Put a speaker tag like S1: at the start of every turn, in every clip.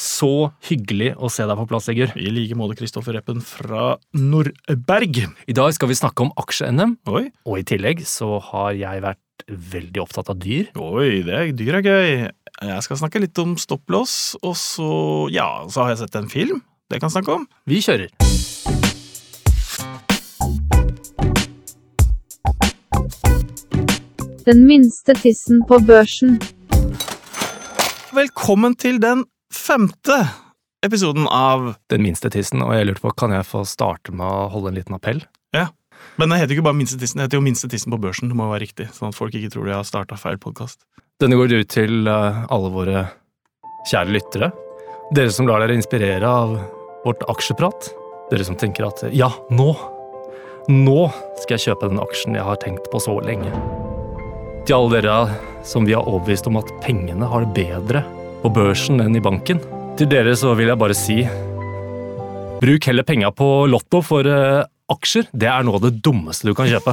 S1: Så hyggelig å se deg på plass, Sigurd.
S2: I like måte Kristoffer Reppen fra Nordberg.
S1: I dag skal vi snakke om aksje-NM,
S2: Oi,
S1: og i tillegg så har jeg vært veldig opptatt av dyr.
S2: oi, det er, dyr er gøy. Jeg skal snakke litt om stopplås, og så ja, så har jeg sett en film. Det kan jeg snakke om.
S1: Vi kjører!
S3: Den minste tissen på børsen.
S2: Velkommen til den femte episoden av
S1: Den minste tissen, og jeg lurte på, kan jeg få starte med å holde en liten appell?
S2: Men det heter jo ikke bare Minste tissen, det heter jo Minste tissen på børsen. Det må jo være riktig, sånn at folk ikke tror de har starta feil podkast.
S1: Denne går ut til eh, alle våre kjære lyttere. Dere som lar dere inspirere av vårt aksjeprat. Dere som tenker at eh, ja, nå! Nå skal jeg kjøpe den aksjen jeg har tenkt på så lenge. Til alle dere som vi har overbevist om at pengene har det bedre på børsen enn i banken. Til dere så vil jeg bare si bruk heller penga på Lotto for eh, aksjer. Det er noe av det dummeste du kan kjøpe.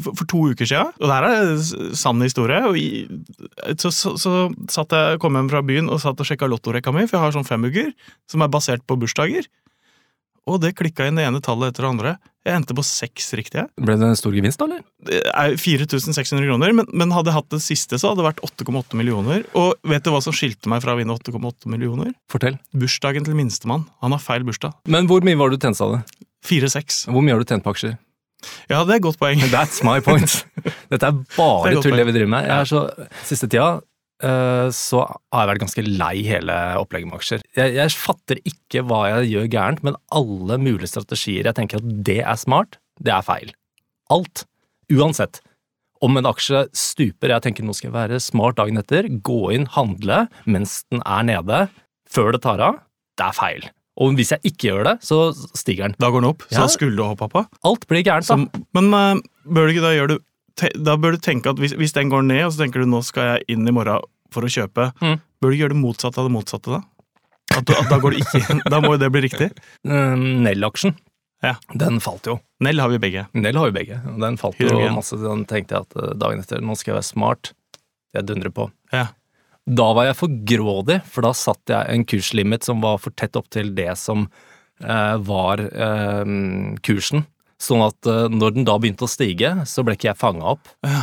S2: for, for to uker siden, og det her er s- sann historie, og i, så, så, så satt jeg, kom jeg hjem fra byen og satt og sjekka lottorekka mi, for jeg har sånn femugger som er basert på bursdager. Og det klikka inn det ene tallet etter det andre. Jeg endte på seks riktige.
S1: Ble det en stor gevinst, da, eller?
S2: Det er 4600 kroner, men, men hadde jeg hatt det siste, så hadde det vært 8,8 millioner. Og vet du hva som skilte meg fra å vinne 8,8 millioner?
S1: Fortell.
S2: Bursdagen til minstemann. Han har feil bursdag.
S1: Men hvor mye var det du tjente, sa du?
S2: 4-6.
S1: Hvor mye har du tjent på aksjer?
S2: Ja, det er et godt poeng.
S1: That's my point. Dette er
S2: Det er
S1: bare
S2: godt
S1: tull
S2: poeng.
S1: det vi driver med. Jeg er så, siste tida eh, så har jeg vært ganske lei hele opplegget med aksjer. Jeg, jeg fatter ikke hva jeg gjør gærent, men alle mulige strategier jeg tenker at det er smart, det er feil. Alt. Uansett. Om en aksje stuper, jeg tenker nå skal jeg være smart dagen etter, gå inn, handle mens den er nede, før det tar av, det er feil. Og hvis jeg ikke gjør det, så stiger den.
S2: Da går den opp. Så
S1: Ja.
S2: da skulle du opp, pappa.
S1: Alt blir gærent, da.
S2: Som, men eh, bør du ikke da gjøre det te, Da bør du tenke at hvis, hvis den går ned, og så tenker du nå skal jeg inn i morgen for å kjøpe,
S1: Mm.
S2: bør du gjøre det motsatte av det motsatte da? At, du, at da går det ikke Da må jo det bli riktig.
S1: Eh, Nell-aksjen,
S2: Ja.
S1: den falt jo.
S2: Nell har vi begge.
S1: Nell har jo begge. og Den falt jo
S2: Hydrogen.
S1: masse. Den tenkte jeg at eh, dagen etter, nå skal jeg være smart. Jeg dundrer på.
S2: Ja.
S1: Da var jeg for grådig, for da satt jeg en kurslimit som var for tett opp til det som eh, var eh, kursen. Sånn at eh, når den da begynte å stige, så ble ikke jeg fanga opp.
S2: Ja.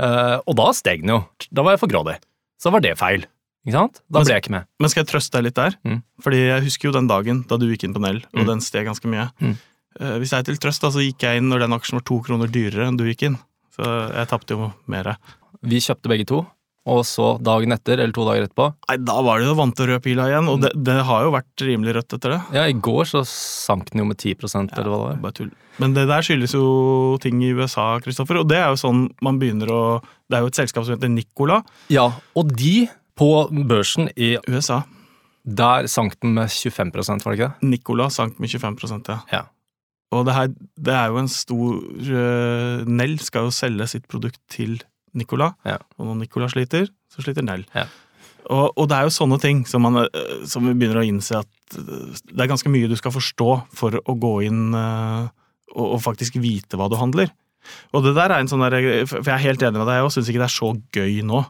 S1: Eh, og da steg den jo. Da var jeg for grådig. Så var det feil. Ikke sant? Da
S2: Men-
S1: ble jeg ikke med.
S2: Men skal jeg trøste deg litt der?
S1: Mm.
S2: Fordi jeg husker jo den dagen da du gikk inn på Nell, og
S1: Mm.
S2: den steg ganske mye.
S1: Mm.
S2: Eh, hvis jeg er til trøst, da, så gikk jeg inn når den aksjen var to kroner dyrere enn du gikk inn. Så jeg tapte jo mer.
S1: Vi kjøpte begge to, og så dagen etter, eller to dager etterpå,
S2: Nei, da var det jo vant til rød pila igjen,
S1: Mm.
S2: og det, det har jo vært rimelig rødt etter det.
S1: ja, i går så sank den jo med 10 eller hva det var.
S2: Bare tull. Men det der skyldes jo ting i USA, Kristoffer, og det er jo sånn man begynner å Det er jo et selskap som heter Nicola.
S1: Ja, og de på børsen i
S2: USA.
S1: Der sank den med 25 var det ikke det?
S2: Nicola sank med 25 ja.
S1: Ja.
S2: Og det her det er jo en stor eh, Nell skal jo selge sitt produkt til Nicola,
S1: Ja.
S2: og når Nicola sliter, så sliter Nell.
S1: Ja.
S2: Og, og det er jo sånne ting som, man, eh, som vi begynner å innse at eh, det er ganske mye du skal forstå for å gå inn eh, og, og faktisk vite hva du handler. Og det der er en sånn der, For jeg er helt enig med deg, og syns ikke det er så gøy nå.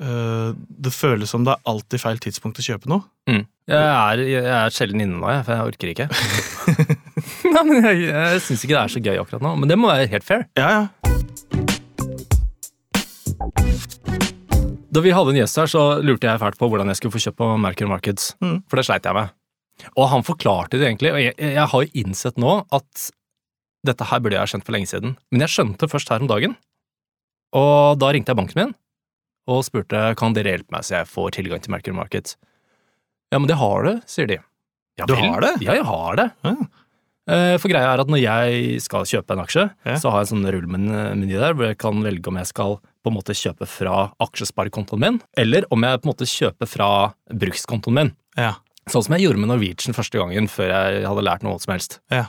S2: Eh, Det føles som det er alltid feil tidspunkt å kjøpe noe.
S1: Jeg er, jeg er sjelden inne nå, jeg, for jeg orker ikke. Nei, men Jeg, jeg syns ikke det er så gøy akkurat nå, men det må være helt fair.
S2: Ja, ja.
S1: Da vi hadde en gjest her, så lurte jeg fælt på hvordan jeg skulle få kjøpt på Mercury Markets,
S2: Mm.
S1: for det sleit jeg med. Og han forklarte det egentlig, og jeg, jeg har jo innsett nå at dette her burde jeg ha skjønt for lenge siden, men jeg skjønte det først her om dagen. Og da ringte jeg banken min og spurte kan dere hjelpe meg så jeg får tilgang til Mercury Markets. Ja, men det har du, sier de. Ja,
S2: Du
S1: vel?
S2: har det?
S1: Ja, jeg har det.
S2: Ja.
S1: Eh, For greia er at når jeg skal kjøpe en aksje,
S2: Ja.
S1: så har jeg en sånn rullmeny der hvor jeg kan velge om jeg skal på en måte kjøpe fra aksjesparekontoen min, eller om jeg på en måte kjøper fra brukskontoen min.
S2: ja.
S1: Sånn som jeg gjorde med Norwegian første gangen før jeg hadde lært noe som helst.
S2: Ja.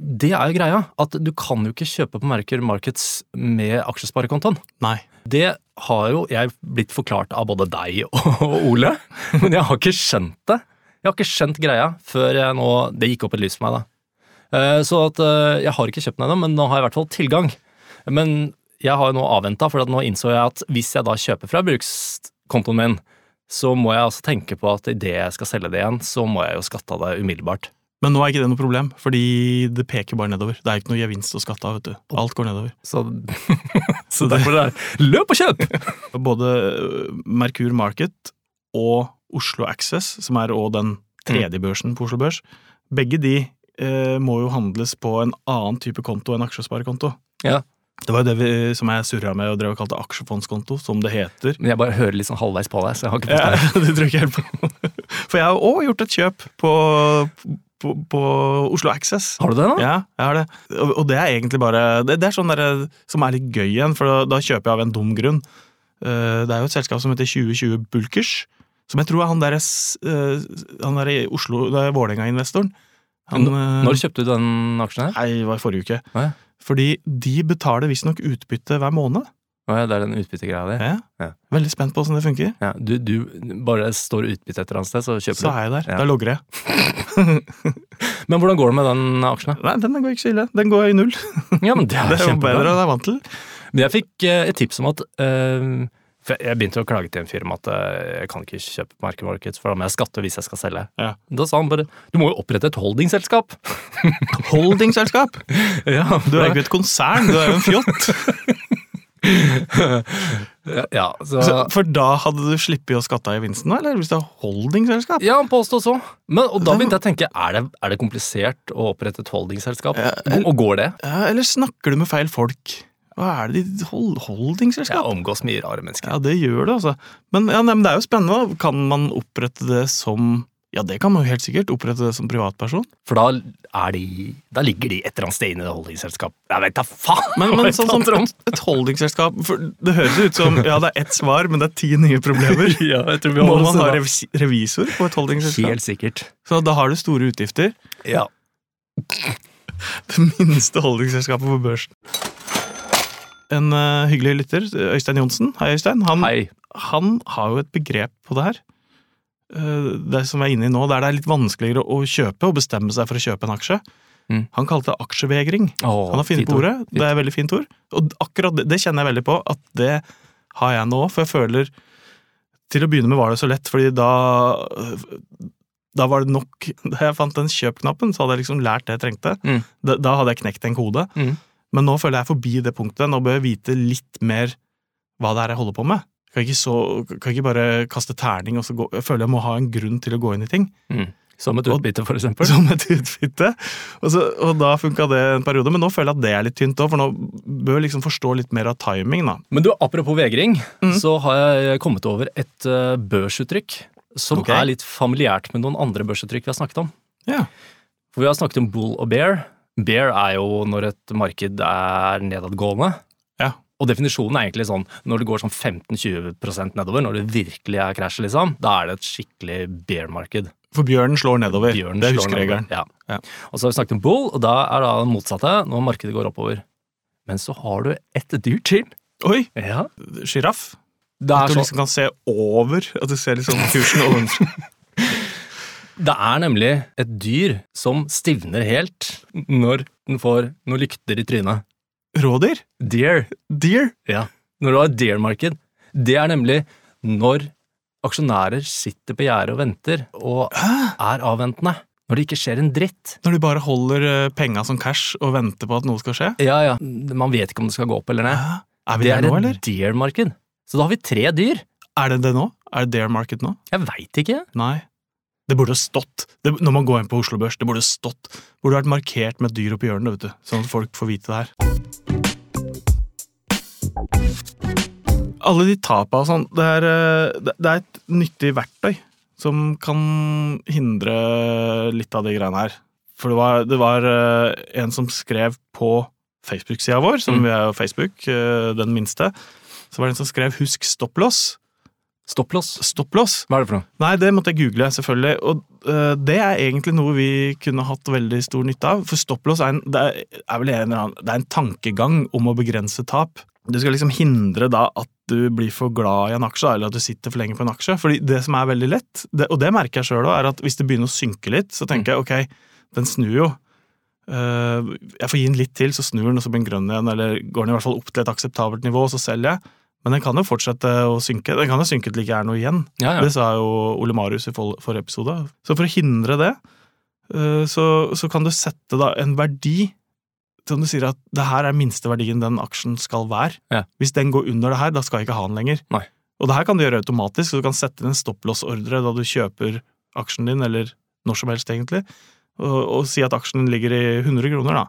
S1: Det er jo greia, at du kan jo ikke kjøpe på Merkur Markets med aksjesparekontoen.
S2: Nei.
S1: Det har jo jeg blitt forklart av både deg og Ole, men jeg har ikke skjønt det. Jeg har ikke skjønt greia før jeg nå Det gikk opp et lys for meg, da. Eh, Så at eh, jeg har ikke kjøpt den ennå, men nå har jeg i hvert fall tilgang. Men jeg har jo nå avventa, for at nå innså jeg at hvis jeg da kjøper fra brukskontoen min, så må jeg altså tenke på at idet jeg skal selge det igjen, så må jeg jo skatte av det umiddelbart.
S2: Men nå er ikke det noe problem, fordi det peker bare nedover. Det er ikke noe gevinst å skatte av, vet du. Alt går nedover.
S1: Så, så derfor er det løp og kjøp!
S2: Både øh, Merkur Market og Oslo Access, som er også den tredje børsen på Oslo Børs, begge de eh, må jo handles på en annen type konto enn aksjesparekonto.
S1: Ja.
S2: Det var jo det vi, som jeg surra med og drev og kalte aksjefondskonto, som det heter.
S1: Men jeg bare hører litt sånn halvveis på deg, så jeg har ikke fått
S2: Ja,
S1: med meg.
S2: det tror jeg ikke helt på. For jeg har òg gjort et kjøp på, på, på Oslo Access.
S1: Har du det nå?
S2: Ja, jeg har det. Og, og det er egentlig bare Det, det er sånn der, som er litt gøy igjen, for da, da kjøper jeg av en dum grunn. Eh, det er jo et selskap som heter 2020 Bulkers, som jeg tror er han derre Han derre i Oslo det er Vålerenga-investoren. Han, eh,
S1: Når kjøpte du den aksjen her?
S2: Nei, det var i forrige uke.
S1: Å ja.
S2: Fordi de betaler visstnok utbytte hver måned.
S1: Å ja, det er den utbyttegreia di.
S2: Ja.
S1: Ja.
S2: Veldig spent på åssen det funker.
S1: Ja, du, du bare står utbytte et eller annet sted, så
S2: Så
S1: kjøper
S2: er jeg der.
S1: Ja.
S2: Da logrer jeg.
S1: du. Men hvordan går det med den aksjen? da?
S2: Nei, den går ikke så ille. Den går i null.
S1: Ja, men det er,
S2: Det er jo bedre
S1: kjempebra.
S2: enn jeg er vant til.
S1: Men jeg fikk eh, et tips om at eh, for jeg- jeg begynte å klage til en fyr om at eh, jeg kan ikke kjøpe merkemarked, for da må jeg skatte hvis jeg skal selge.
S2: Ja.
S1: Da sa han bare du må jo opprette et holdingselskap.
S2: Holdingselskap!
S1: Ja,
S2: Du er jo ikke et konsern, du er jo en fjott.
S1: ja,
S2: Så,
S1: så,
S2: for da hadde du sluppet å skatte av gevinsten, da, eller hvis det er holdingselskap?
S1: ja, han påstod så. Men, og da begynte jeg å tenke er det, er det komplisert å opprette et holdingselskap?
S2: Ja,
S1: Og går det?
S2: Ja, Eh, eller snakker du med feil folk? Hva er det de hold,
S1: Jeg
S2: Holdingselskap?
S1: omgås mye rare mennesker.
S2: Ja, det gjør det, altså. Men, ja, nei, men det er jo spennende. da. Kan man opprette det som Ja, det kan man jo helt sikkert. Opprette det som privatperson.
S1: For da, er de, da ligger de et eller annet sted inne i det holdingselskapet. Jeg vet da faen!
S2: Men,
S1: hva
S2: men
S1: jeg
S2: sånn som
S1: prater om.
S2: et holdingselskap for Det høres ut som ja, det er ett svar, men det er ti nye problemer.
S1: ja, jeg tror
S2: Må man ha
S1: holder oss
S2: revis- revisor på et
S1: til det.
S2: holdingselskap?
S1: Helt sikkert.
S2: Så da har du store utgifter.
S1: Ja.
S2: det minste holdingselskapet på børsen. En eh, hyggelig lytter, Øystein Johnsen. Hei, Øystein. Han,
S1: Hei.
S2: han har jo et begrep på det her. Eh, Det som vi er inne i nå, der det er litt vanskeligere å kjøpe og bestemme seg for å kjøpe en aksje.
S1: Mm.
S2: Han kalte det aksjevegring.
S1: Åh,
S2: Han har funnet
S1: fint
S2: på
S1: ord.
S2: ordet. Det er et veldig fint ord. Og akkurat det, det kjenner jeg veldig på, at det har jeg nå. For jeg føler Til å begynne med var det så lett, fordi da Da var det nok Da jeg fant den kjøpknappen, så hadde jeg liksom lært det jeg trengte.
S1: Mm.
S2: Da, da hadde jeg knekt en kode.
S1: Mm.
S2: Men nå føler jeg forbi det punktet. Nå bør jeg vite litt mer hva det er jeg holder på med. Kan ikke, så, kan ikke bare kaste terning og så gå Jeg føler jeg må ha en grunn til å gå inn i ting
S1: Som et
S2: Og-
S1: utbytte, for eksempel.
S2: som et utbytte. Og, så, og da funka det en periode, men nå føler jeg at det er litt tynt òg, for nå bør jeg liksom forstå litt mer av timing, da.
S1: Men du, apropos vegring,
S2: Mm.
S1: så har jeg kommet over et eh, børsuttrykk som
S2: Ok.
S1: er litt familiært med noen andre børsuttrykk vi har snakket om.
S2: Ja.
S1: For vi har snakket om bull og bear. Bear er jo når et marked er nedadgående.
S2: Ja.
S1: Og definisjonen er egentlig sånn når det går sånn 15-20 nedover, når det virkelig er krasj, liksom, da er det et skikkelig bear-marked.
S2: For bjørnen slår nedover.
S1: Bjørnen
S2: det
S1: slår
S2: husker
S1: nedover.
S2: regelen.
S1: Ja.
S2: Ja.
S1: Og så har vi snakket om bull, og da er da det motsatte når markedet går oppover. Men så har du ett dyr til.
S2: Oi!
S1: Ja.
S2: Sjiraff.
S1: Det er
S2: At du
S1: sånn
S2: liksom kan se over. At du ser liksom kursen ovenfor.
S1: Det er nemlig et dyr som stivner helt når den får noen lykter i trynet.
S2: Rådyr?
S1: Deer.
S2: Deer?
S1: Ja. Når du har et deer-marked, det er nemlig når aksjonærer sitter på gjerdet og venter, og
S2: Hæ?
S1: er avventende. Når det ikke skjer en dritt.
S2: Når de bare holder eh, penga som cash og venter på at noe skal skje?
S1: Ja, ja. Man vet ikke om det skal gå opp eller ned.
S2: Hæ? Er vi
S1: Det
S2: der
S1: er
S2: nå,
S1: et
S2: eller?
S1: deer-marked. Så da har vi tre dyr.
S2: Er det det nå? Er det Dare Market nå?
S1: Jeg veit ikke.
S2: Nei. Det burde stått. Det, når man går inn på Oslo Børs, det burde stått. Det burde vært markert med et dyr oppi hjørnet, vet du. Sånn at folk får vite det her. Alle de tapa og sånn, det er, eh, det det er et nyttig verktøy som kan hindre litt av de greiene her. For det var, det var eh, en som skrev på Facebook-sida vår, som
S1: Mm.
S2: vi er jo Facebook, eh, den minste, så var det en som skrev 'husk stopplås'.
S1: Stopplås.
S2: Stopplås!
S1: Hva er det for noe?
S2: Nei, det måtte jeg google, selvfølgelig. Og øh, det er egentlig noe vi kunne hatt veldig stor nytte av. For stopplås er, en, det er, er vel en eller annen Det er en tankegang om å begrense tap. Du skal liksom hindre da at du blir for glad i en aksje, da, eller at du sitter for lenge på en aksje. Fordi det som er veldig lett, det, og det merker jeg sjøl òg, er at hvis det begynner å synke litt, så tenker jeg ok, den snur jo. Eh, Øh, jeg får gi den litt til, så snur den, og så blir den grønn igjen. Eller går den i hvert fall opp til et akseptabelt nivå, og så selger jeg. Men den kan jo fortsette å synke. Den kan jo synke til det ikke er noe igjen.
S1: Ja, ja.
S2: Det sa jo Ole Marius i for- forrige episode. Så for å hindre det, eh, så, så kan du sette da en verdi som du sier at det her er minsteverdien den aksjen skal være.
S1: Ja.
S2: Hvis den går under det her, da skal jeg ikke ha den lenger.
S1: Nei.
S2: Og det her kan du gjøre automatisk, så du kan sette inn en stopplåsordre da du kjøper aksjen din, eller når som helst egentlig, og, og si at aksjen din ligger i 100 kroner, da.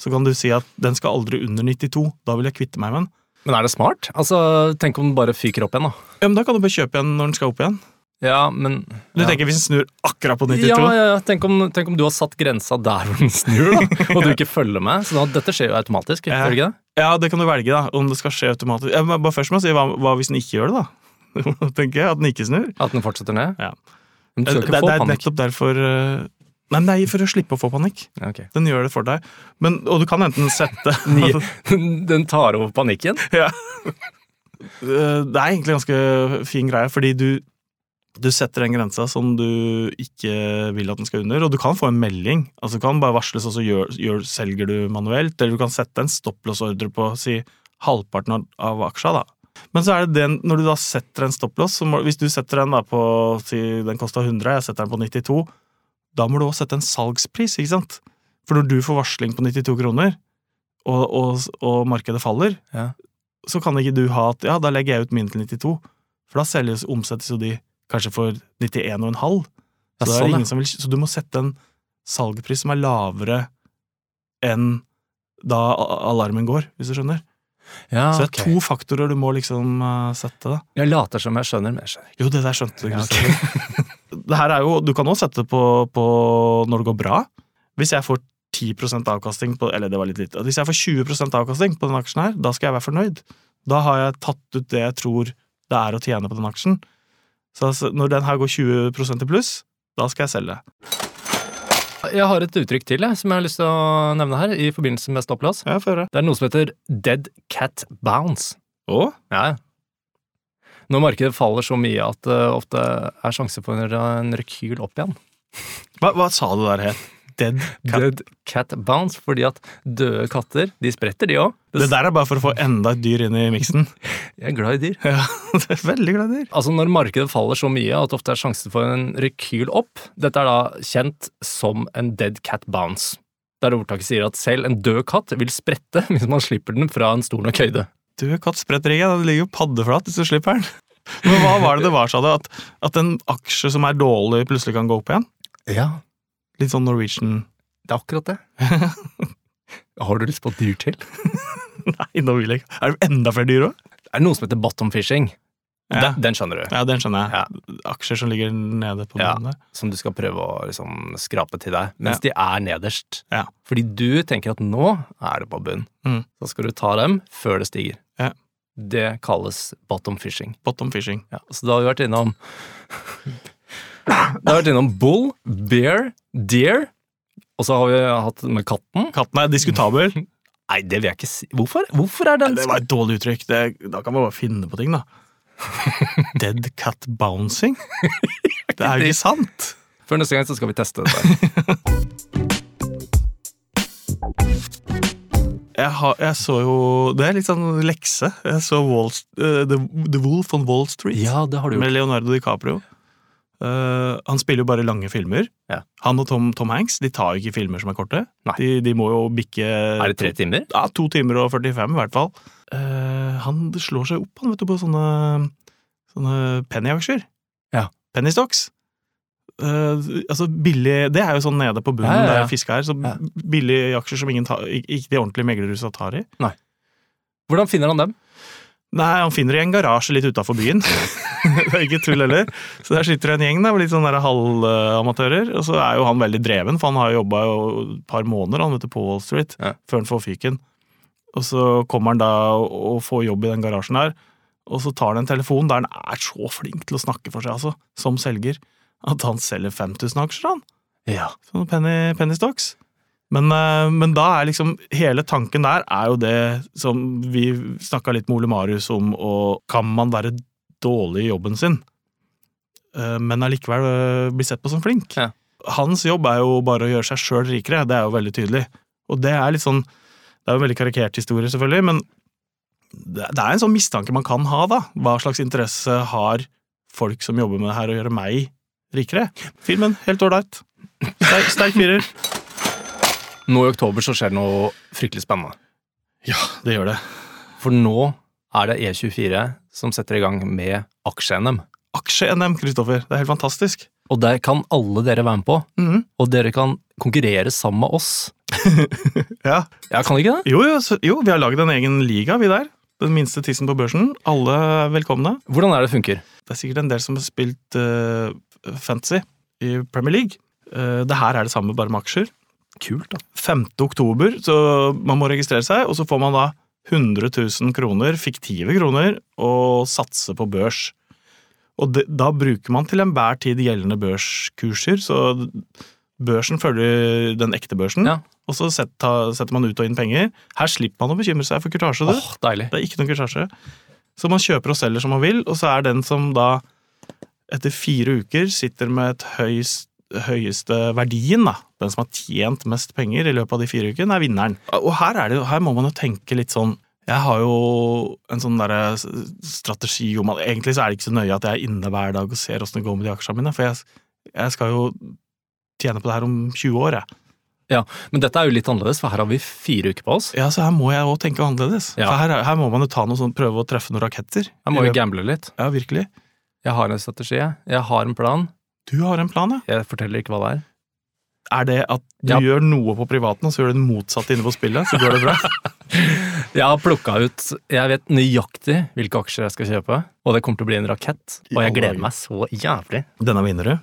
S2: Så kan du si at den skal aldri under 92, da vil jeg kvitte meg med den.
S1: Men er det smart? Altså, Tenk om den bare fyker opp igjen, da.
S2: Ja, men da kan du bare kjøpe igjen når den skal opp igjen.
S1: Ja, men
S2: Du
S1: ja.
S2: tenker hvis den snur akkurat på 92?
S1: Ja, ja, ja. Tenk, om, tenk om du har satt grensa der hvor den snur, da, og du ikke følger med. Så da, dette skjer jo automatisk.
S2: Ja.
S1: gjør det ikke det?
S2: Ja, det kan du velge, da. Om det skal skje automatisk. Ja, men bare først må jeg si hva, hva hvis den ikke gjør det, da? Tenker jeg, At den ikke snur.
S1: At den fortsetter ned?
S2: Ja.
S1: Men du skal
S2: det,
S1: ikke
S2: det
S1: få
S2: er
S1: panikk.
S2: nettopp derfor eh, Nei, men det er for å slippe å få panikk.
S1: Ja, ok.
S2: Den gjør det for deg. Men, og du kan enten sette Altså, eh,
S1: Ni- Den tar over panikken?
S2: ja. Eh, Det er egentlig en ganske fin greie, fordi du, du setter den grensa som du ikke vil at den skal under, og du kan få en melding. Altså Du kan bare varsles, og så gjør, gjør, selger du manuelt, eller du kan sette en stopplåsordre på si, halvparten av- av aksja. da. Men så er det den, når du da setter en stopplås, så må, hvis du setter den da på si, den kosta 100, jeg setter den på 92, da må du også sette en salgspris, ikke sant? For når du får varsling på 92 kroner, og, og, og markedet faller,
S1: Ja.
S2: så kan ikke du ha at ja, da legger jeg ut min til 92, for da selges, omsettes jo de kanskje for 91,5.
S1: Ja,
S2: Så,
S1: sånn,
S2: da er det
S1: ja.
S2: ingen som vil, så du må sette en salgpris som er lavere enn da a- alarmen går, hvis du skjønner.
S1: Ja,
S2: Så
S1: Ah,
S2: det
S1: ok.
S2: er to faktorer du må liksom eh, sette. da.
S1: Jeg later som jeg skjønner, men jeg skjønner ikke.
S2: Jo, det der skjønte du.
S1: Ja, ok.
S2: Kristoffer. det her er jo, du kan også sette det på, på når det går bra. Hvis jeg får 10 avkasting på, eller det var litt lite, hvis jeg får 20 avkasting på den aksjen her, da skal jeg være fornøyd. Da har jeg tatt ut det jeg tror det er å tjene på den aksjen. Så altså, når den her går 20 i pluss, da skal jeg selge.
S1: Jeg har et uttrykk til jeg, som jeg har lyst til å nevne her, i forbindelse med stopplås.
S2: Ja, få høre.
S1: Det er noe som heter dead cat bounce. Ja. Når markedet faller så mye at det ofte er sjanse for en rekyl opp igjen.
S2: Hva, hva sa du der het? Dead cat?
S1: Dead cat bounce, fordi at døde katter, de spretter de òg.
S2: Det der er bare for å få enda et dyr inn i miksen.
S1: Jeg er glad i dyr.
S2: Ja, det er veldig glad dyr.
S1: Altså Når markedet faller så mye at det ofte er sjanse for en rekyl opp Dette er da kjent som en dead cat bounce. Der ordtaket sier at selv en død katt vil sprette hvis man slipper den fra en stor nok høyde.
S2: Du, kattsprettringen, den ligger jo paddeflat hvis du slipper den. Men hva var det det var, sa du? At, at en aksje som er dårlig, plutselig kan gå opp igjen?
S1: Ja,
S2: Litt sånn Norwegian
S1: det er akkurat det. Har du lyst på dyr til? Det
S2: Nei, nå vil jeg ikke. Er det enda flere dyr òg?
S1: er noe som heter bottom fishing.
S2: Ja.
S1: Den, den skjønner du.
S2: ja, den skjønner jeg. Aksjer som ligger nede på
S1: Ja.
S2: bunnen der.
S1: Som du skal prøve å liksom skrape til deg mens de er nederst.
S2: Ja.
S1: Fordi du tenker at nå er det på bunn.
S2: Mm.
S1: Så skal du ta dem før det stiger.
S2: Ja.
S1: Det kalles bottom fishing.
S2: Bottom fishing.
S1: Ja, så da har vi vært innom Da har vi vært innom bull, bear, deer, og så har vi hatt med katten.
S2: Katten er diskutabel.
S1: Nei, det vil jeg ikke si. Hvorfor, Hvorfor er den
S2: Det var et dårlig uttrykk. Det, da kan man bare finne på ting, da. Dead cat bouncing? Det er jo ikke sant!
S1: Før neste gang så skal vi teste det.
S2: jeg, har, jeg så jo Det er litt sånn lekse. Jeg så Wall, eh, The, The Wolf on Wall Street
S1: ja, det har du gjort.
S2: med Leonardo DiCaprio. Eh, han spiller jo bare lange filmer.
S1: Ja.
S2: Han og Tom, Tom Hanks de tar jo ikke filmer som er korte.
S1: Nei.
S2: De, de må jo bikke
S1: Er det tre timer?
S2: ja, to timer og 45 i hvert fall. Eh, han slår seg opp han, vet du, på sånne, sånne pennyaksjer.
S1: Ja.
S2: Penny stocks. Eh, altså billig Det er jo sånn nede på bunnen
S1: Ja, ja, ja.
S2: der fiska er. Så
S1: Ja.
S2: billige aksjer som ingen tar, ikke ikke de ordentlige meglerhusa tar i.
S1: Hvordan finner han dem?
S2: Nei, han finner det i en garasje litt utafor byen. det er ikke tull heller. Så der sitter det en gjeng der, litt sånn der halvamatører. Og så er jo han veldig dreven, for han har jobba et par måneder han vet du, på Wall Street
S1: Ja.
S2: før han får fyken. Og så kommer han da og og får jobb i den garasjen der, og så tar han en telefon der han er så flink til å snakke for seg, altså, som selger, at han selger 5000 aksjer, han
S1: Ja.
S2: sånne Sånn penny, penny stocks. Men, eh, men da er liksom hele tanken der er jo det som vi snakka litt med Ole Marius om, og kan man være dårlig i jobben sin, eh, men allikevel eh, bli sett på som flink?
S1: Ja.
S2: Hans jobb er jo bare å gjøre seg sjøl rikere, det er jo veldig tydelig. Og det er litt sånn Det er jo en veldig karikert historie, selvfølgelig, men det det er en sånn mistanke man kan ha, da. Hva slags interesse har folk som jobber med det her, å gjøre meg rikere? Filmen, helt ålreit. Sterk, sterk firer.
S1: Nå i oktober så skjer det noe fryktelig spennende.
S2: Ja, det gjør det.
S1: For nå er det E24 som setter i gang med aksje-NM.
S2: Aksje-NM, Kristoffer. Det er helt fantastisk.
S1: Og der kan alle dere være med på,
S2: Mhm.
S1: og dere kan konkurrere sammen med oss.
S2: Ja.
S1: Ja, kan dere ikke det?
S2: Jo, jo, så, jo, vi har lagd en egen liga, vi der. Den minste tissen på børsen. Alle er velkomne.
S1: Hvordan er det det funker?
S2: Det er sikkert en del som har spilt eh, fantasy i Premier League. Eh, det her er det samme, bare med aksjer.
S1: Kult, da.
S2: 5. oktober, så man må registrere seg, og så får man da 100 000 kroner, fiktive kroner, og satse på børs. Og det, da bruker man til enhver tid gjeldende børskurser, så børsen følger den ekte børsen,
S1: Ja.
S2: og så set- ta- setter man ut og inn penger. Her slipper man å bekymre seg for kurtasje, du.
S1: Åh, deilig.
S2: Det er ikke noen kurtasje. Så man kjøper og selger som man vil, og så er den som da etter fire uker sitter med et høyst høyeste verdien, da. Den som har tjent mest penger i løpet av de fire ukene, er vinneren. Og her, er det, jo- her må man jo tenke litt sånn Jeg har jo en sånn derre s- strategi om at Egentlig så er det ikke så nøye at jeg er inne hver dag og ser åssen det går med de aksjene mine, for jeg, jeg skal jo tjene på det her om 20 år, jeg.
S1: Men dette er jo litt annerledes, for her har vi fire uker på oss.
S2: Ja, så her må jeg òg tenke annerledes.
S1: Ja.
S2: For her, er- her må man jo ta noe sånn, prøve å treffe noen raketter.
S1: Her må vi gamble litt.
S2: Ja, virkelig.
S1: Jeg har en strategi, jeg. Jeg har en plan.
S2: Du har en plan, ja.
S1: Jeg forteller ikke hva det er.
S2: Er det at du
S1: Ja.
S2: gjør noe på privaten, og så gjør du det motsatte inne på spillet? Så går det bra.
S1: Jeg har plukka ut Jeg vet nøyaktig hvilke aksjer jeg skal kjøpe, og det kommer til å bli en rakett. Og jeg gleder meg så jævlig.
S2: Denne vinner du.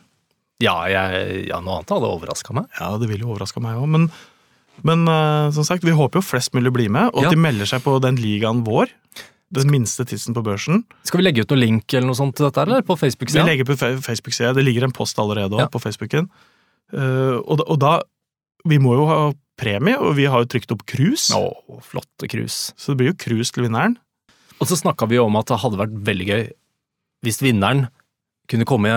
S1: Ja, jeg, ja noe annet hadde overraska meg.
S2: Ja, det vil jo overraske meg òg, men, men eh, som sagt, vi håper jo flest mulig blir med, og at
S1: Ja.
S2: de melder seg på den ligaen vår. Den minste tissen på børsen.
S1: Skal vi legge ut noen link eller noe sånt til dette, eller? På
S2: Vi
S1: Facebook-sida?
S2: legger på fe- Facebook-sida. Det ligger en post allerede også
S1: Ja.
S2: på Facebooken. Eh, og, da, og da Vi må jo ha premie, og vi har jo trykt opp cruise.
S1: Å, flotte krus.
S2: Så det blir jo cruise til vinneren.
S1: Og så snakka vi jo om at det hadde vært veldig gøy hvis vinneren kunne komme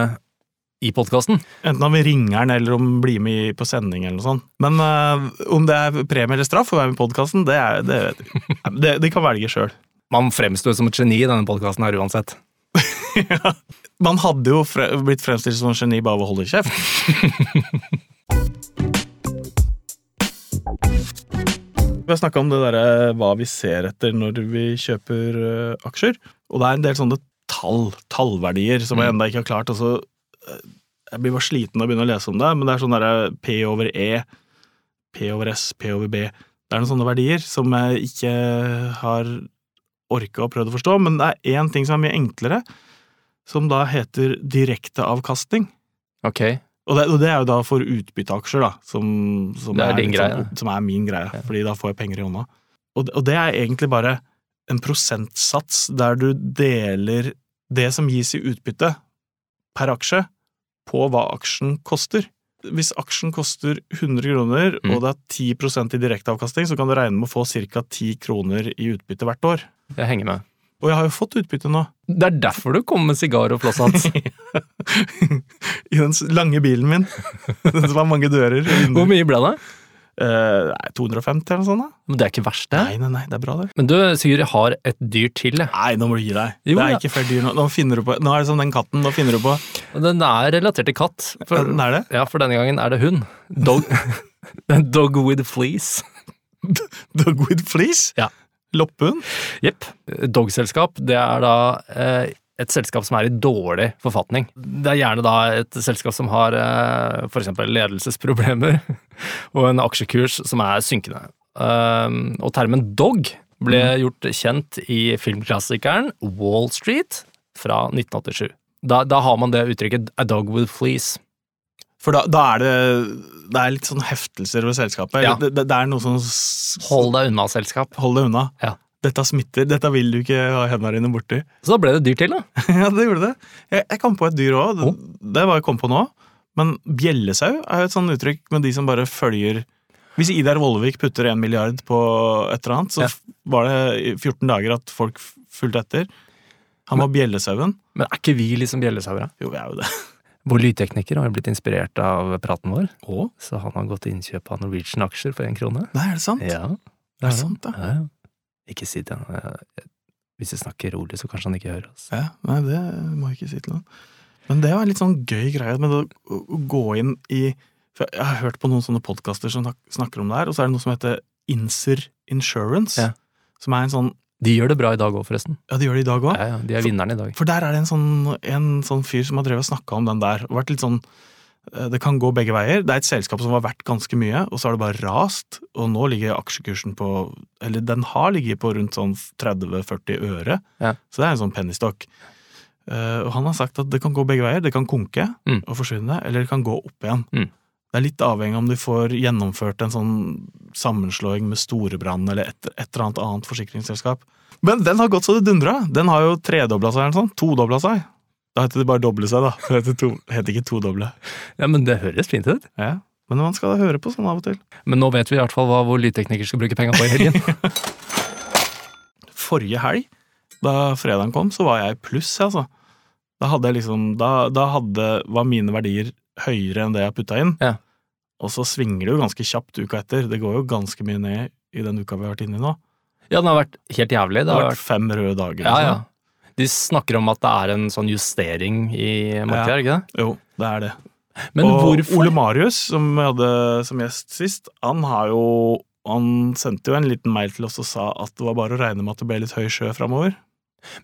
S1: i podkasten.
S2: Enten om vi ringer den, eller om blir med i- på sending, eller noe sånt. Men eh, om det er premie eller straff å være med i podkasten, det, er- det vet vi. Det, det kan velge sjøl.
S1: Man fremstår som et geni i denne podkasten her uansett.
S2: Man hadde jo fre blitt fremstilt som geni bare ved å holde kjeft. Vi har snakka om det derre hva vi ser etter når vi kjøper eh, aksjer. Og det er en del sånne tall, tallverdier, som jeg ennå ikke har klart. Altså, eh, jeg blir bare sliten av å begynne å lese om det, men det er sånn derre P over E, P over S, P over B. Det er noen sånne verdier som jeg ikke har orka og prøvd å forstå, men det er én ting som er mye enklere som da heter direkteavkastning.
S1: Ok,
S2: Og det, og det er jo da for utbytteaksjer, da, som, som,
S1: Det er din
S2: litt
S1: greie,
S2: sånn- som er min greie.
S1: Ja.
S2: Fordi da får jeg penger i hånda. Og, det- og det er egentlig bare en prosentsats der du deler det som gis i utbytte per aksje, på hva aksjen koster. Hvis aksjen koster 100 kroner,
S1: Mm.
S2: og det er 10 i direkteavkastning, så kan du regne med å få ca. 10 kroner i utbytte hvert år.
S1: jeg henger med.
S2: Og jeg har jo fått utbytte nå.
S1: Det er derfor du kommer med sigar og flosshatt.
S2: I den s- lange bilen min. Den som har mange dører. og vinduer.
S1: Hvor mye ble det?
S2: Eh, nei, 250 eller noe sånt? da?
S1: Men det er ikke verst, det.
S2: Nei, nei, nei, det er bra, det.
S1: Men du, Sigurd, jeg har et dyr til. jeg.
S2: Nei, nå må du gi deg.
S1: Jo,
S2: det er
S1: ja.
S2: ikke fair dyr nå. Nå, finner du på. nå er det som den katten. Nå finner du på.
S1: Og Den er relatert til katt. For,
S2: Den er det?
S1: ja, for denne gangen er det hund. Dog, dog with fleece.
S2: Dog with fleece?
S1: Ja.
S2: Loppehund?
S1: Jepp. Dogselskap, det er da eh, et selskap som er i dårlig forfatning. Det er gjerne da et selskap som har eh, for eksempel ledelsesproblemer, og en aksjekurs som er synkende. Um, og termen dog ble gjort kjent i filmklassikeren Wall Street fra 1987. Da, da har man det uttrykket 'a dog with fleece'.
S2: For da, da er det, det er litt sånn heftelser ved selskapet.
S1: Ja.
S2: Det, det, det er noe som s-
S1: Hold deg unna selskap.
S2: Hold deg unna.
S1: Ja.
S2: Dette smitter. Dette vil du ikke ha hendene dine borti.
S1: Så da ble det dyr til, da.
S2: ja, det gjorde det. Jeg, jeg kom på et dyr òg. Det,
S1: Oh.
S2: det var jeg kom på nå. Men bjellesau er jo et sånt uttrykk med de som bare følger Hvis Idar Vollevik putter en milliard på et eller annet, så
S1: Ja.
S2: f- var det i 14 dager at folk f- fulgte etter. Han var bjellesauen.
S1: Men er ikke vi liksom bjellesauere?
S2: Jo, jeg er jo det.
S1: Vår lydtekniker har jo blitt inspirert av praten vår, så han har gått til innkjøp av Norwegian-aksjer for én krone.
S2: Nei, er det sant?
S1: Ja,
S2: Er det sant, da?
S1: Ja, ja. Ikke si det. Jeg Hvis vi snakker rolig, så kanskje han ikke hører oss.
S2: Ja, nei, det må jeg ikke si til noen. Men det var en litt sånn gøy greie med å å gå inn i for Jeg har hørt på noen sånne podkaster som snak- snakker om det her, og så er det noe som heter Inser Insurance.
S1: Ja.
S2: Som er en sånn
S1: De gjør det bra i dag òg, forresten.
S2: Ja, de gjør det i dag òg.
S1: Ja, ja, de er vinnerne i dag.
S2: For der er det en sånn, en sånn fyr som har drevet og snakka om den der. og vært litt sånn, eh, Det kan gå begge veier. Det er et selskap som har vært ganske mye, og så har det bare rast. Og nå ligger aksjekursen på Eller den har ligget på rundt sånn 30-40 øre.
S1: Ja.
S2: Så det er en sånn pennystokk. Eh, og han har sagt at det kan gå begge veier. Det kan konke
S1: Mm.
S2: og forsvinne, eller det kan gå opp igjen.
S1: Mm.
S2: Det er litt avhengig om de får gjennomført en sånn sammenslåing med Storebrand eller et, et eller annet annet forsikringsselskap. Men den har gått så det dundra! Den har jo tredobla seg eller noe sånt. Todobla seg. Da heter det bare doble seg, da. Det heter, to, heter ikke todoble.
S1: Ja, Men det høres fint ut.
S2: Ja. Men man skal da høre på sånn av og til.
S1: Men nå vet vi i hvert fall hva vår lydtekniker skal bruke penga på i helgen.
S2: Forrige helg, da fredagen kom, så var jeg i pluss, jeg, altså. Da hadde jeg liksom Da, da hadde, var mine verdier høyere enn det jeg putta inn.
S1: Ja.
S2: Og så svinger det jo ganske kjapt uka etter. Det går jo ganske mye ned i den uka vi har vært inne i nå.
S1: ja, den har vært helt jævlig.
S2: Det
S1: Det
S2: har
S1: har vært
S2: vært fem røde dager.
S1: Ja,
S2: liksom.
S1: ja. De snakker om at det er en sånn justering i markedet, er det ikke det?
S2: Jo, det er det.
S1: Men
S2: og
S1: hvorfor?
S2: Ole Marius, som jeg hadde som gjest sist, han har jo han sendte jo en liten mail til oss og sa at det var bare å regne med at det ble litt høy sjø framover.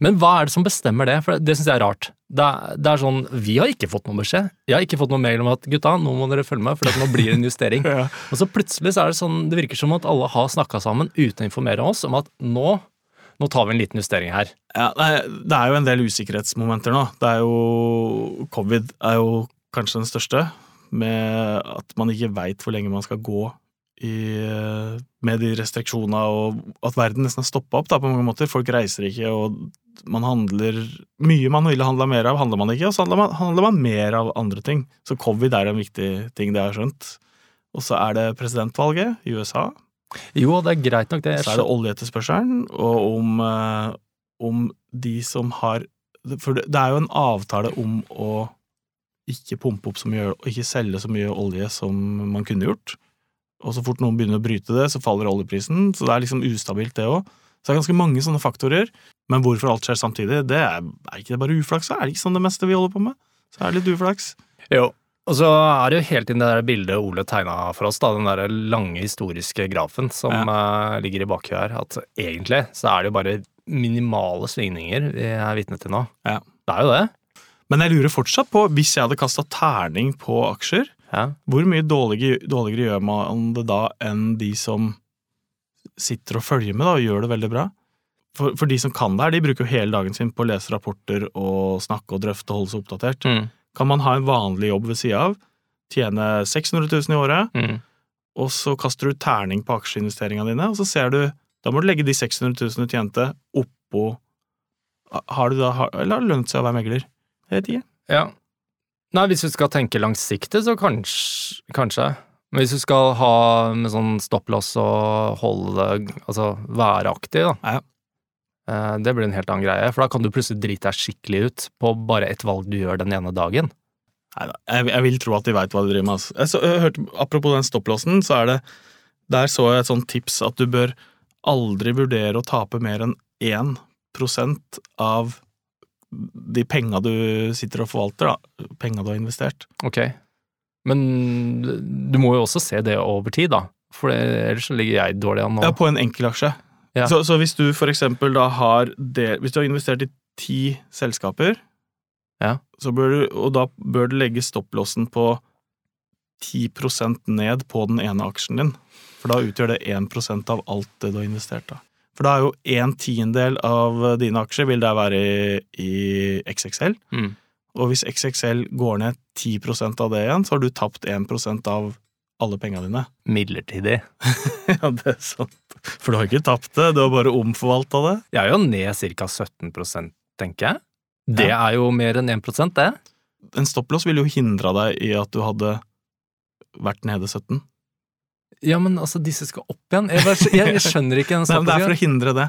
S1: Men hva er det som bestemmer det? For det syns jeg er rart. Det er, det er sånn, Vi har ikke fått noen beskjed. Jeg har ikke fått noen mail om at gutta, nå må dere følge meg, for at nå blir det en justering. Og så plutselig så er det sånn, det virker som at alle har snakka sammen uten å informere oss om at nå, nå tar vi en liten justering her.
S2: Ja, nei, det er jo en del usikkerhetsmomenter nå. Det er jo Covid er jo kanskje den største, med at man ikke veit hvor lenge man skal gå i, med de restriksjonene, og at verden nesten har stoppa opp da, på mange måter. Folk reiser ikke, og man handler Mye man ville handla mer av, handler man ikke, og så handler man, handler man mer av andre ting. Så covid er en viktig ting, det har jeg skjønt. Og så er det presidentvalget i USA.
S1: Jo, det er greit nok, det.
S2: Så er det oljeetterspørselen, og om, eh, om de som har For det det er jo en avtale om å ikke pumpe opp så mye og ikke selge så mye olje som man kunne gjort. Og så fort noen begynner å bryte det, så faller oljeprisen. Så det er liksom ustabilt, det òg. Så det er ganske mange sånne faktorer. Men hvorfor alt skjer samtidig, det er, er ikke det bare uflaks? da? Er det ikke sånn det meste vi holder på med? Så er det litt uflaks.
S1: Jo. Og så er det jo helt inn det der bildet Ole tegna for oss, da, den der lange historiske grafen som eh, ligger i bakhjulet her, at egentlig så er det jo bare minimale svingninger vi er vitne til nå.
S2: Ja.
S1: Det er jo det.
S2: Men jeg lurer fortsatt på, hvis jeg hadde kasta terning på aksjer,
S1: Ja.
S2: Hvor mye dårligere, dårligere gjør man det da enn de som sitter og følger med da, og gjør det veldig bra? For, for de som kan det her, de bruker jo hele dagen sin på å lese rapporter og snakke og drøfte og holde seg oppdatert.
S1: Mm.
S2: Kan man ha en vanlig jobb ved sida av, tjene 600 000 i året,
S1: Mm.
S2: og så kaster du terning på aksjeinvesteringene dine, og så ser du Da må du legge de 600 000 du tjente, oppå Har du da har, Eller har det lønt seg å være megler? Jeg vet ikke.
S1: ja. Nei, hvis du skal tenke langsiktig, så kanskje. kanskje. Men hvis du skal ha med sånn stopplås og holde Altså være aktiv, da.
S2: Ja.
S1: eh, Det blir en helt annen greie, for da kan du plutselig drite deg skikkelig ut på bare ett valg du gjør den ene dagen.
S2: Neida, jeg, jeg vil tro at de veit hva de driver med. Altså. Jeg så, jeg hørte, apropos den stopplåsen, så er det Der så jeg et sånt tips at du bør aldri vurdere å tape mer enn 1 av de penga du sitter og forvalter, da. Penga du har investert.
S1: Ok. Men du må jo også se det over tid, da. For ellers så ligger jeg dårlig an nå.
S2: Ja, på en enkel aksje.
S1: Ja.
S2: Så, så hvis du for eksempel da har del, Hvis du har investert i ti selskaper,
S1: Ja.
S2: så bør du, og da bør du legge stopplåsen på 10 ned på den ene aksjen din. For da utgjør det 1 av alt det du har investert. da. For da er jo en tiendedel av dine aksjer vil der være i, i XXL.
S1: Mm.
S2: Og hvis XXL går ned 10 av det igjen, så har du tapt 1 av alle penga dine.
S1: Midlertidig.
S2: Ja, det er sant. For du har ikke tapt det, du har bare omforvalta det.
S1: Jeg er jo ned ca. 17 tenker jeg. Det er jo mer enn 1 det.
S2: En stopplås ville jo hindra deg i at du hadde vært nede 17.
S1: Ja, men altså, disse skal opp igjen. Jeg, bare, jeg, jeg skjønner ikke den
S2: Nei, men det er for
S1: statistikken.
S2: å hindre det.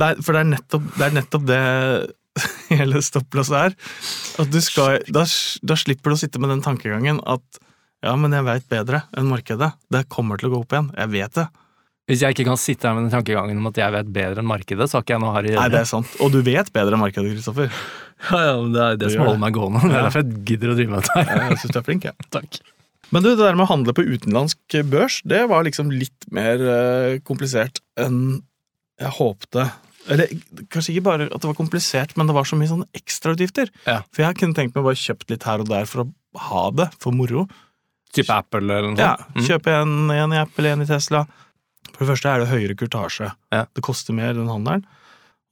S2: det er, for det er nettopp det, er nettopp det hele stopplåset er. At du skal, da, da slipper du å sitte med den tankegangen at ja, men jeg veit bedre enn markedet. Det kommer til å gå opp igjen. Jeg vet det.
S1: Hvis jeg ikke kan sitte her med den tankegangen om at jeg vet bedre enn markedet, så har ikke jeg noe her å gjøre.
S2: Nei, det er sant. Og du vet bedre enn markedet, Kristoffer.
S1: ja, ja, men det er det
S2: Du
S1: som
S2: gjør det.
S1: holder meg gående. Det er
S2: Ja.
S1: derfor jeg gidder å drive med dette. her.
S2: Jeg syns du er flink, jeg.
S1: Takk.
S2: Men du, det der med å handle på utenlandsk børs, det var liksom litt mer eh, komplisert enn jeg håpte. Eller kanskje ikke bare at det var komplisert, men det var så mye sånne ekstrautgifter.
S1: Ja.
S2: For jeg kunne tenkt meg å bare kjøpt litt her og der for å ha det, for moro.
S1: Type Apple eller noe
S2: Ja,
S1: Mm.
S2: Kjøpe en, en i Apple, en i Tesla. For det første er det høyere kurtasje.
S1: Ja.
S2: Det koster mer, den handelen.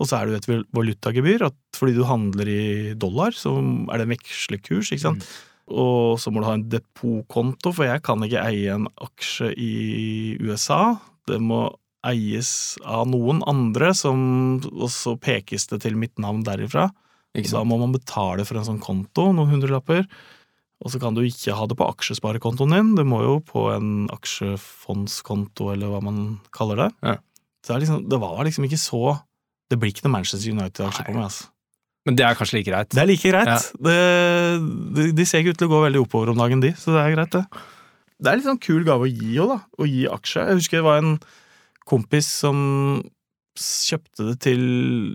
S2: Og så er det jo et valutagebyr, at fordi du handler i dollar, så er det en vekslekurs, ikke sant.
S1: Mm.
S2: Og så må du ha en depotkonto, for jeg kan ikke eie en aksje i USA. Det må eies av noen andre, som, og så pekes det til mitt navn derifra.
S1: Ikke
S2: Da
S1: sant?
S2: må man betale for en sånn konto, noen hundrelapper. Og så kan du ikke ha det på aksjesparekontoen din, du må jo på en aksjefondskonto, eller hva man kaller det.
S1: Ja.
S2: Så det, er liksom, det var liksom ikke så Det blir ikke noe Manchester United-aksje på meg, altså.
S1: Men det er kanskje like greit.
S2: Det er like greit. Det, de, de ser ikke ut til å gå veldig oppover om dagen, de, så det er greit, det. Det er litt sånn kul gave å gi òg, da. Å gi aksje. Jeg husker det var en kompis som s- kjøpte det til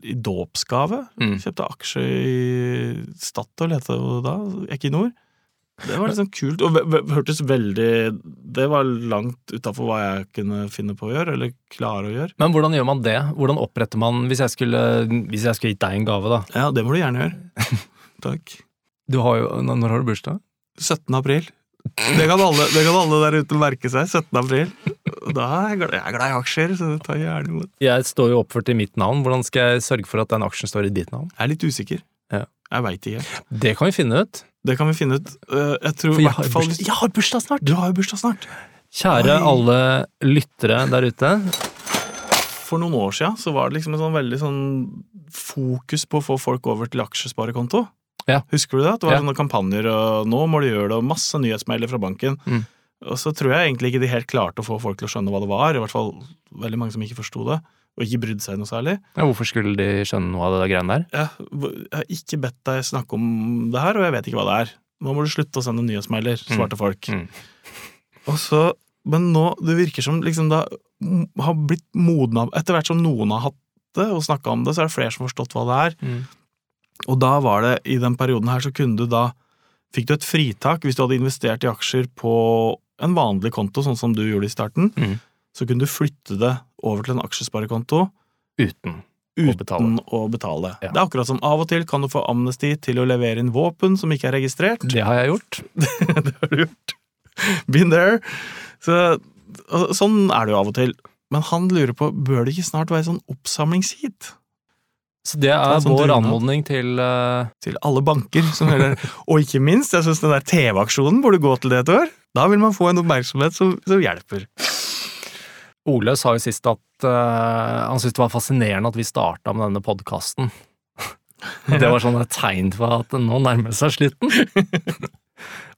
S2: i dåpsgave.
S1: Mm.
S2: Kjøpte aksje i Statoil, het det jo da. Equinor. Det var liksom kult, og ve- ve- hørtes veldig Det var langt utafor hva jeg kunne finne på å gjøre, eller klare å gjøre.
S1: Men hvordan gjør man det? Hvordan oppretter man Hvis jeg skulle, hvis jeg skulle gitt deg en gave, da.
S2: Ja, det må du gjerne gjøre. Takk.
S1: Du har jo, når når har du bursdag?
S2: 17. april. Det kan, alle, det kan alle der ute merke seg. 17. april. Da er jeg, glad, jeg er glad i aksjer, så ta gjerne imot.
S1: Jeg står jo oppført i mitt navn. Hvordan skal jeg sørge for at den aksjen står i ditt navn?
S2: Jeg er litt usikker.
S1: Ja.
S2: Jeg veit ikke.
S1: Det kan vi finne ut.
S2: Det kan vi finne ut. Eh, Jeg tror
S1: For
S2: i
S1: jeg har
S2: hvert fall
S1: bursdag, jeg har bursdag snart!
S2: Du har jo bursdag snart.
S1: Kjære
S2: Oi.
S1: alle lyttere der ute.
S2: For noen år sia så var det liksom en sånn veldig sånn fokus på å få folk over til aksjesparekonto.
S1: Ja.
S2: Husker du det? At det var
S1: Ja.
S2: sånne kampanjer, og nå må du gjøre det, og masse nyhetsmailer fra banken.
S1: Mm.
S2: Og så tror jeg egentlig ikke de helt klarte å få folk til å skjønne hva det var. I hvert fall veldig mange som ikke forsto det, og ikke brydde seg noe særlig.
S1: Ja, hvorfor skulle de skjønne noe av det der greiene der?
S2: jeg, jeg har ikke bedt deg snakke om det her, og jeg vet ikke hva det er. Nå må du slutte å sende nyhetsmailer, svarte folk.
S1: Mm.
S2: Og så, men nå, det virker som liksom det har blitt modna Etter hvert som noen har hatt det og snakka om det, så er det flere som har forstått hva det er.
S1: Mm.
S2: Og da var det, i den perioden her, så kunne du da Fikk du et fritak hvis du hadde investert i aksjer på en vanlig konto, sånn som du gjorde i starten.
S1: Mm.
S2: Så kunne du flytte det over til en aksjesparekonto
S1: Uten.
S2: uten å
S1: betale.
S2: betale.
S1: Ja.
S2: Det er akkurat som av og til kan du få amnesti til å levere inn våpen som ikke er registrert.
S1: Det har jeg gjort.
S2: det har du gjort. Been there. Så, og sånn er det jo av og til. Men han lurer på bør det ikke snart være sånn oppsamlingsheat
S1: Så det
S2: Ta
S1: er
S2: en sånn
S1: vår
S2: dugnad.
S1: anmodning til eh,
S2: til alle banker? Som gjelder. og ikke minst, jeg syns den der TV-aksjonen burde gå til det et år. Da vil man få en oppmerksomhet som, som hjelper.
S1: Ole sa jo sist at eh, han syntes det var fascinerende at vi starta med denne podkasten. Det var sånn et tegn på at nå nærmer det seg slutten.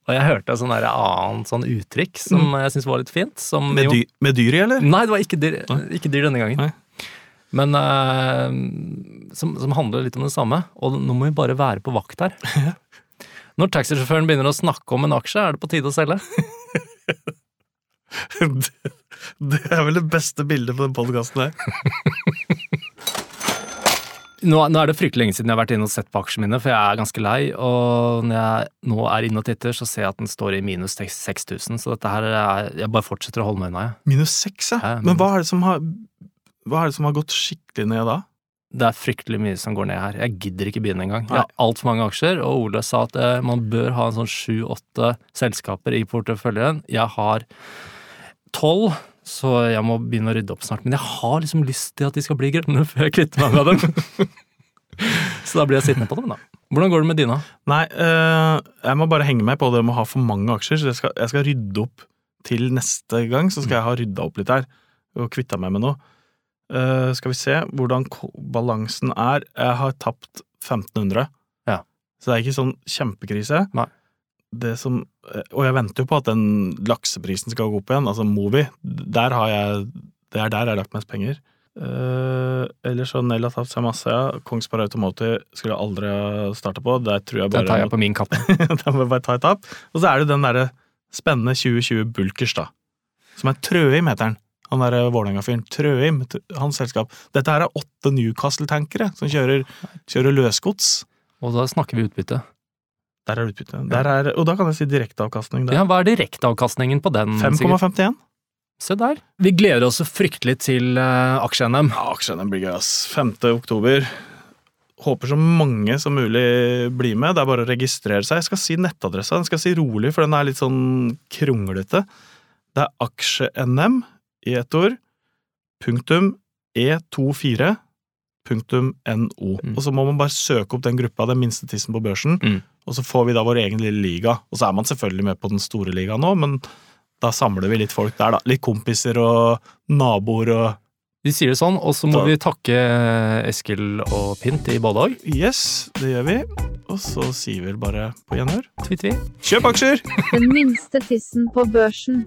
S1: Og jeg hørte et sånn der annet sånn uttrykk som jeg syntes var litt fint. Som
S2: Med,
S1: jo-
S2: dy, med dyr i, eller?
S1: Nei, det var ikke dyr, ikke dyr denne gangen.
S2: Nei.
S1: Men eh, som, som handler litt om det samme. Og nå må vi bare være på vakt her. Når taxisjåføren begynner å snakke om en aksje, er det på tide å selge.
S2: det, det er vel det beste bildet på den podkasten her.
S1: Nå, nå er det fryktelig lenge siden jeg har vært inne og sett på aksjene mine, for jeg er ganske lei. Og når jeg nå er inne og titter, så ser jeg at den står i minus 6000, så dette her er, Jeg bare fortsetter å holde meg unna, jeg.
S2: Minus seks, ja.
S1: Ja,
S2: Men hva er det som har, hva er det som har gått skikkelig ned da?
S1: Det er fryktelig mye som går ned her. Jeg gidder ikke begynne engang. Jeg
S2: Nei.
S1: har altfor mange aksjer, og Ole sa at eh, man bør ha en sånn sju-åtte selskaper i porteføljen. Jeg har tolv, så jeg må begynne å rydde opp snart. Men jeg har liksom lyst til at de skal bli grønne før jeg kvitter meg med dem. så da blir jeg sittende på dem, da. Hvordan går det med dine?
S2: Nei, eh, jeg må bare henge meg på det med å ha for mange aksjer, så jeg skal, jeg skal rydde opp til neste gang, så skal jeg ha rydda opp litt her, og kvitta meg med noe. Eh, skal vi se hvordan ko- balansen er. Jeg har tapt 1500,
S1: Ja.
S2: så det er ikke sånn kjempekrise.
S1: Nei.
S2: Det som, eh, og jeg venter jo på at den lakseprisen skal gå opp igjen, altså Movi. Der har jeg, det er der jeg har lagt mest penger. Uh, ellers så Nell har tapt seg masse. ja. Kongsberg Automotive skulle jeg aldri ha starta på. Der tror jeg bare
S1: Den tar jeg på min kappe.
S2: da må vi bare ta et tap. Og så er det den derre spennende 2020 Bulkers, da. Som er Trøim, heter den. Han der eh, Vålerenga-fyren. Trøim, t- hans selskap. Dette her er åtte Newcastle-tankere som kjører, kjører løsgods.
S1: Og da snakker vi utbytte.
S2: Der er utbytte. Der er, og da kan jeg si direkteavkastning der.
S1: Ja, hva er direkteavkastningen på den? Sigurd?
S2: 5,51.
S1: Se der.
S4: Vi gleder oss så fryktelig til uh, aksje-NM.
S2: Ja, aksjene blir gøy, ass. 5. oktober. Håper så mange som mulig blir med. Det er bare å registrere seg. Jeg skal si nettadressa. Den skal jeg si rolig, for den er litt sånn kronglete. Det er aksje-NM i ett ord. Punktum E24. Punktum NO.
S1: Mm.
S2: Og så må man bare søke opp den gruppa, den minste tissen på børsen.
S1: Mm.
S2: Og så får vi da vår egen lille liga. Og så er man selvfølgelig med på den store ligaen nå, men da samler vi litt folk der, da. Litt kompiser og naboer og
S1: De sier det sånn, og så må
S2: Da-
S1: vi takke eh, Eskil og Pint i Bådahog.
S2: Yes, det gjør vi. Og så sier vi vel bare på gjenhør.
S1: Tvi-tvi.
S2: Kjøp aksjer!
S3: Den minste tissen på børsen.